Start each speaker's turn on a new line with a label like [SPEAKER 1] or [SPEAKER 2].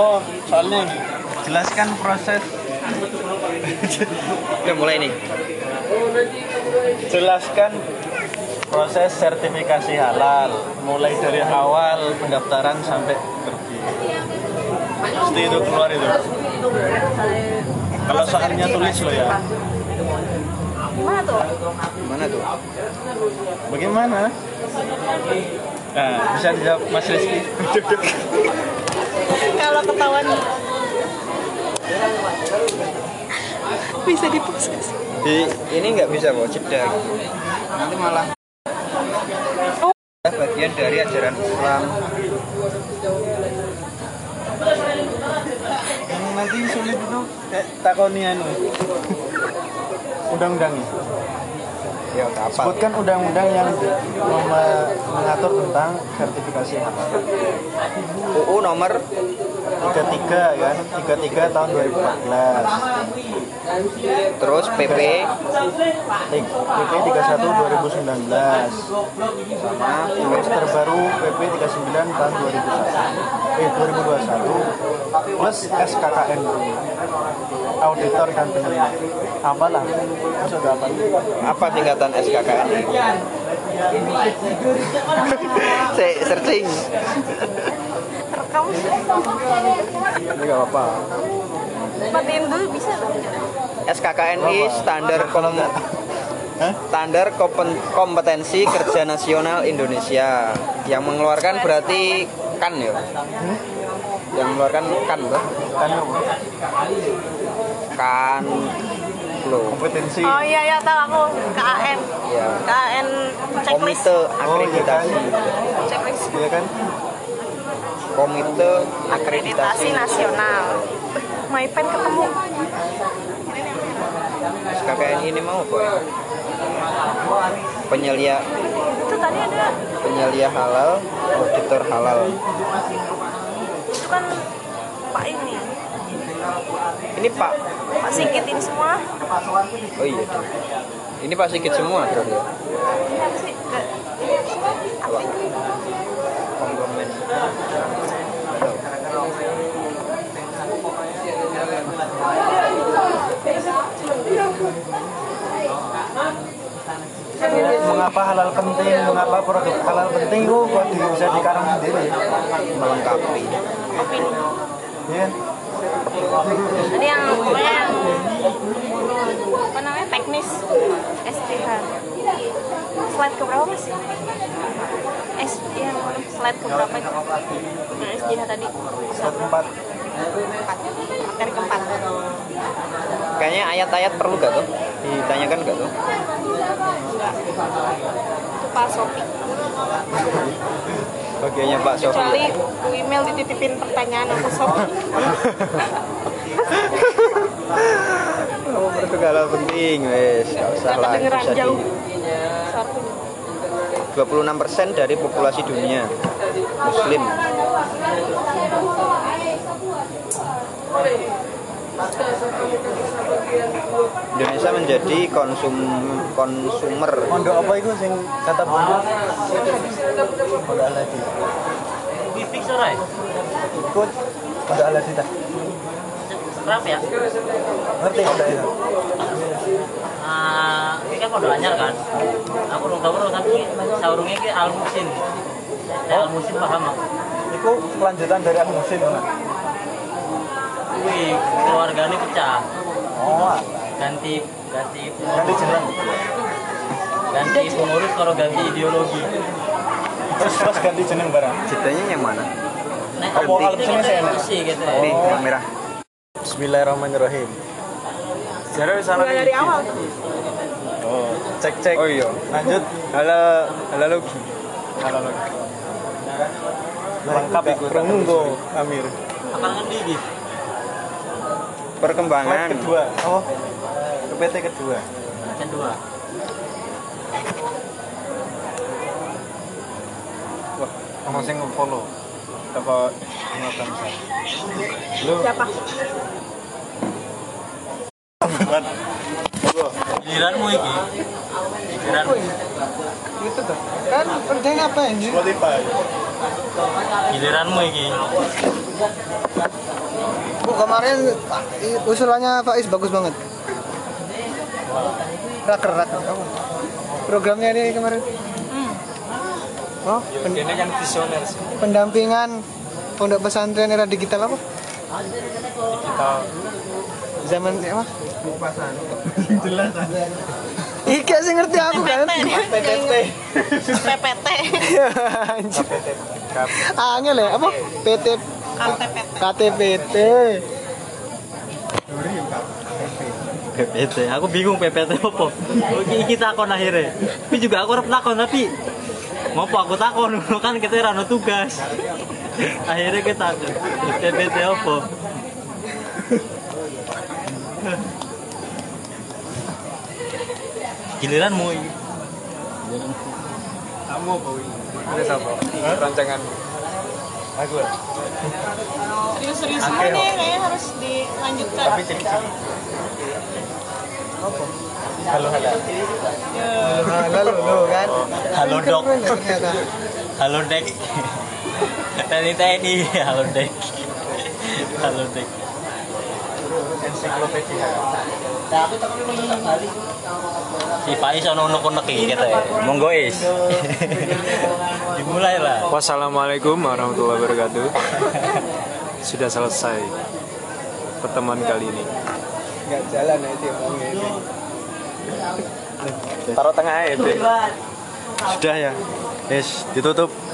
[SPEAKER 1] Oh, soalnya jelaskan proses
[SPEAKER 2] Udah mulai nih.
[SPEAKER 1] jelaskan proses sertifikasi halal mulai dari awal pendaftaran sampai pergi. Pasti itu keluar itu. Kalau soalnya tulis lo ya.
[SPEAKER 3] Gimana tuh?
[SPEAKER 2] Mana tuh?
[SPEAKER 1] Bagaimana? Nah, bisa dijawab Mas Rizky.
[SPEAKER 3] Kalau ketahuan bisa diproses.
[SPEAKER 2] Di ini nggak bisa mau jeda. Nanti malah bagian dari ajaran Islam.
[SPEAKER 1] Yang nanti sulit itu eh, takoni anu. Undang-undangnya.
[SPEAKER 2] Ya nggak apa.
[SPEAKER 1] Sebutkan undang-undang yang mema- mengatur tentang sertifikasi halal.
[SPEAKER 2] UU nomor
[SPEAKER 1] 33 kan, 33 tahun 2014.
[SPEAKER 2] terus PP
[SPEAKER 1] Tik- PP 31 2019.
[SPEAKER 2] sama
[SPEAKER 1] Terus terbaru PP 39 tahun 2001. Eh 2021 plus SKKN auditor dan peneliti. Apalah? Masuk ke apa?
[SPEAKER 2] apa tingkatan SKKN? Se- searching.
[SPEAKER 3] Rekam.
[SPEAKER 1] Ini gak apa-apa.
[SPEAKER 3] Matiin dulu bisa loh.
[SPEAKER 2] SKKN ini standar kom
[SPEAKER 1] Hah?
[SPEAKER 2] standar Kompen- kompetensi kerja nasional Indonesia yang mengeluarkan berarti kan ya yang mengeluarkan kan loh
[SPEAKER 1] Kan apa?
[SPEAKER 2] kan lo
[SPEAKER 1] kompetensi.
[SPEAKER 3] Oh iya iya tahu aku KAN.
[SPEAKER 2] ya
[SPEAKER 3] KAN checklist.
[SPEAKER 2] komite
[SPEAKER 1] Oh iya kan?
[SPEAKER 2] akreditasi
[SPEAKER 3] Checklist
[SPEAKER 1] Iya kan?
[SPEAKER 2] komite
[SPEAKER 3] akreditasi
[SPEAKER 2] akreditasi
[SPEAKER 3] nasional. My pen ketemu.
[SPEAKER 2] SKKN ini mau boy penyelia
[SPEAKER 3] Itu tadi ada
[SPEAKER 2] penyelia halal auditor halal
[SPEAKER 3] itu kan Pak ini.
[SPEAKER 2] ini pak
[SPEAKER 3] Pak Sigit ini semua.
[SPEAKER 2] oh iya ini pak sikit semua bro ya
[SPEAKER 3] Ini apa sih? Nggak- ini apa sih? Apa?
[SPEAKER 2] Konglomerat.
[SPEAKER 1] Mengapa halal penting? Mengapa produk halal penting? Oh, kok di- bisa dikarang sendiri?
[SPEAKER 2] melengkapi
[SPEAKER 1] Iya.
[SPEAKER 3] Jadi yang pokoknya yang apa namanya teknis STH. Slide ke berapa mas? S iya, slide ke berapa itu? Nah, Yang STH tadi.
[SPEAKER 1] Satu tempat.
[SPEAKER 3] Materi keempat.
[SPEAKER 2] Kayaknya ayat-ayat perlu gak tuh? Ditanyakan gak tuh?
[SPEAKER 3] Itu Pak Sopi.
[SPEAKER 2] Bagiannya Pak Sofi.
[SPEAKER 3] Kecuali Bu email dititipin pertanyaan sama Sopi.
[SPEAKER 2] Oh, Portugal lah penting, wes. Gak usah lah. itu
[SPEAKER 3] Kedengeran
[SPEAKER 2] jadi
[SPEAKER 3] jauh. Satu.
[SPEAKER 2] 26% dari populasi dunia Muslim. Indonesia menjadi konsum konsumer
[SPEAKER 1] Pondok apa itu sing kata pondok? Pondok Aladi.
[SPEAKER 4] Bifik sorai,
[SPEAKER 1] Ikut pondok Aladi dah.
[SPEAKER 4] kerap ya.
[SPEAKER 1] Ngerti pondok itu?
[SPEAKER 4] Ah, ini kan pondok anyar kan. Aku nunggu tahu tapi saurungnya ki al musim. Al musim paham aku.
[SPEAKER 1] Itu kelanjutan dari aku musim. kan?
[SPEAKER 4] Wih, keluarganya pecah.
[SPEAKER 1] Oh,
[SPEAKER 4] Ganti ganti
[SPEAKER 1] nanti jalan.
[SPEAKER 4] ganti pengurus kalau ganti ideologi.
[SPEAKER 1] Terus terus ganti jeneng barang.
[SPEAKER 2] Ceritanya yang mana?
[SPEAKER 4] Nah,
[SPEAKER 1] Apa al
[SPEAKER 4] itu
[SPEAKER 1] musimnya
[SPEAKER 4] kita
[SPEAKER 1] saya enak?
[SPEAKER 4] isi gitu. ya.
[SPEAKER 2] Nih, yang merah.
[SPEAKER 1] Bismillahirrahmanirrahim.
[SPEAKER 3] Mulai dari awal.
[SPEAKER 1] Oh, cek cek.
[SPEAKER 2] Oh iya.
[SPEAKER 1] Lanjut.
[SPEAKER 2] Halo, halo Logi.
[SPEAKER 1] Halal. Lengkap ikut. Perunggu Amir.
[SPEAKER 4] Apa ngendi gitu?
[SPEAKER 1] Slide
[SPEAKER 2] Perkembangan
[SPEAKER 1] kedua. Oh, PPT kedua.
[SPEAKER 4] Kedua.
[SPEAKER 1] Wah, ono sing follow teko ngoten saya. Lu
[SPEAKER 3] Siapa?
[SPEAKER 1] buat
[SPEAKER 4] Giliranmu iki. Giliranmu.
[SPEAKER 1] Spotify.
[SPEAKER 4] giliranmu iki
[SPEAKER 5] Bu, kemarin i- usulannya Faiz bagus banget. Raker, raker. Apa? Programnya ini kemarin. Oh, pen-
[SPEAKER 4] Hmm. ini kan visioner sih
[SPEAKER 5] pendampingan pondok pesantren era digital apa?
[SPEAKER 4] kita
[SPEAKER 5] Zaman apa? Jelas. Ika sih ngerti aku kan.
[SPEAKER 3] PPT PPT
[SPEAKER 5] Anjir. Angel ya, apa? PT KTPT.
[SPEAKER 4] PPT aku bingung PPT apa oke iki takon akhirnya tapi juga aku harap takon tapi ngopo aku takon kan kita rano tugas akhirnya kita takon PPT apa giliranmu iki.
[SPEAKER 1] Aku
[SPEAKER 3] serius-serius semua nih
[SPEAKER 5] eh,
[SPEAKER 3] kayaknya harus dilanjutkan
[SPEAKER 1] tapi jadi Halo halo.
[SPEAKER 5] Halal lo kan.
[SPEAKER 4] Halo,
[SPEAKER 5] Kan
[SPEAKER 4] Dok.
[SPEAKER 5] keren ya ternyata.
[SPEAKER 4] halo dek TNI TNI halo dek halo dek
[SPEAKER 1] Ensiklopedia.
[SPEAKER 4] si Faiz ono ono konek iki kita ya
[SPEAKER 2] Monggo is.
[SPEAKER 4] dimulai lah
[SPEAKER 6] Wassalamualaikum warahmatullahi wabarakatuh. Sudah selesai pertemuan kali ini.
[SPEAKER 5] Nggak jalan ya dia ngomongnya.
[SPEAKER 6] Taruh tengah aja,
[SPEAKER 2] Sudah ya.
[SPEAKER 1] Yes, ditutup.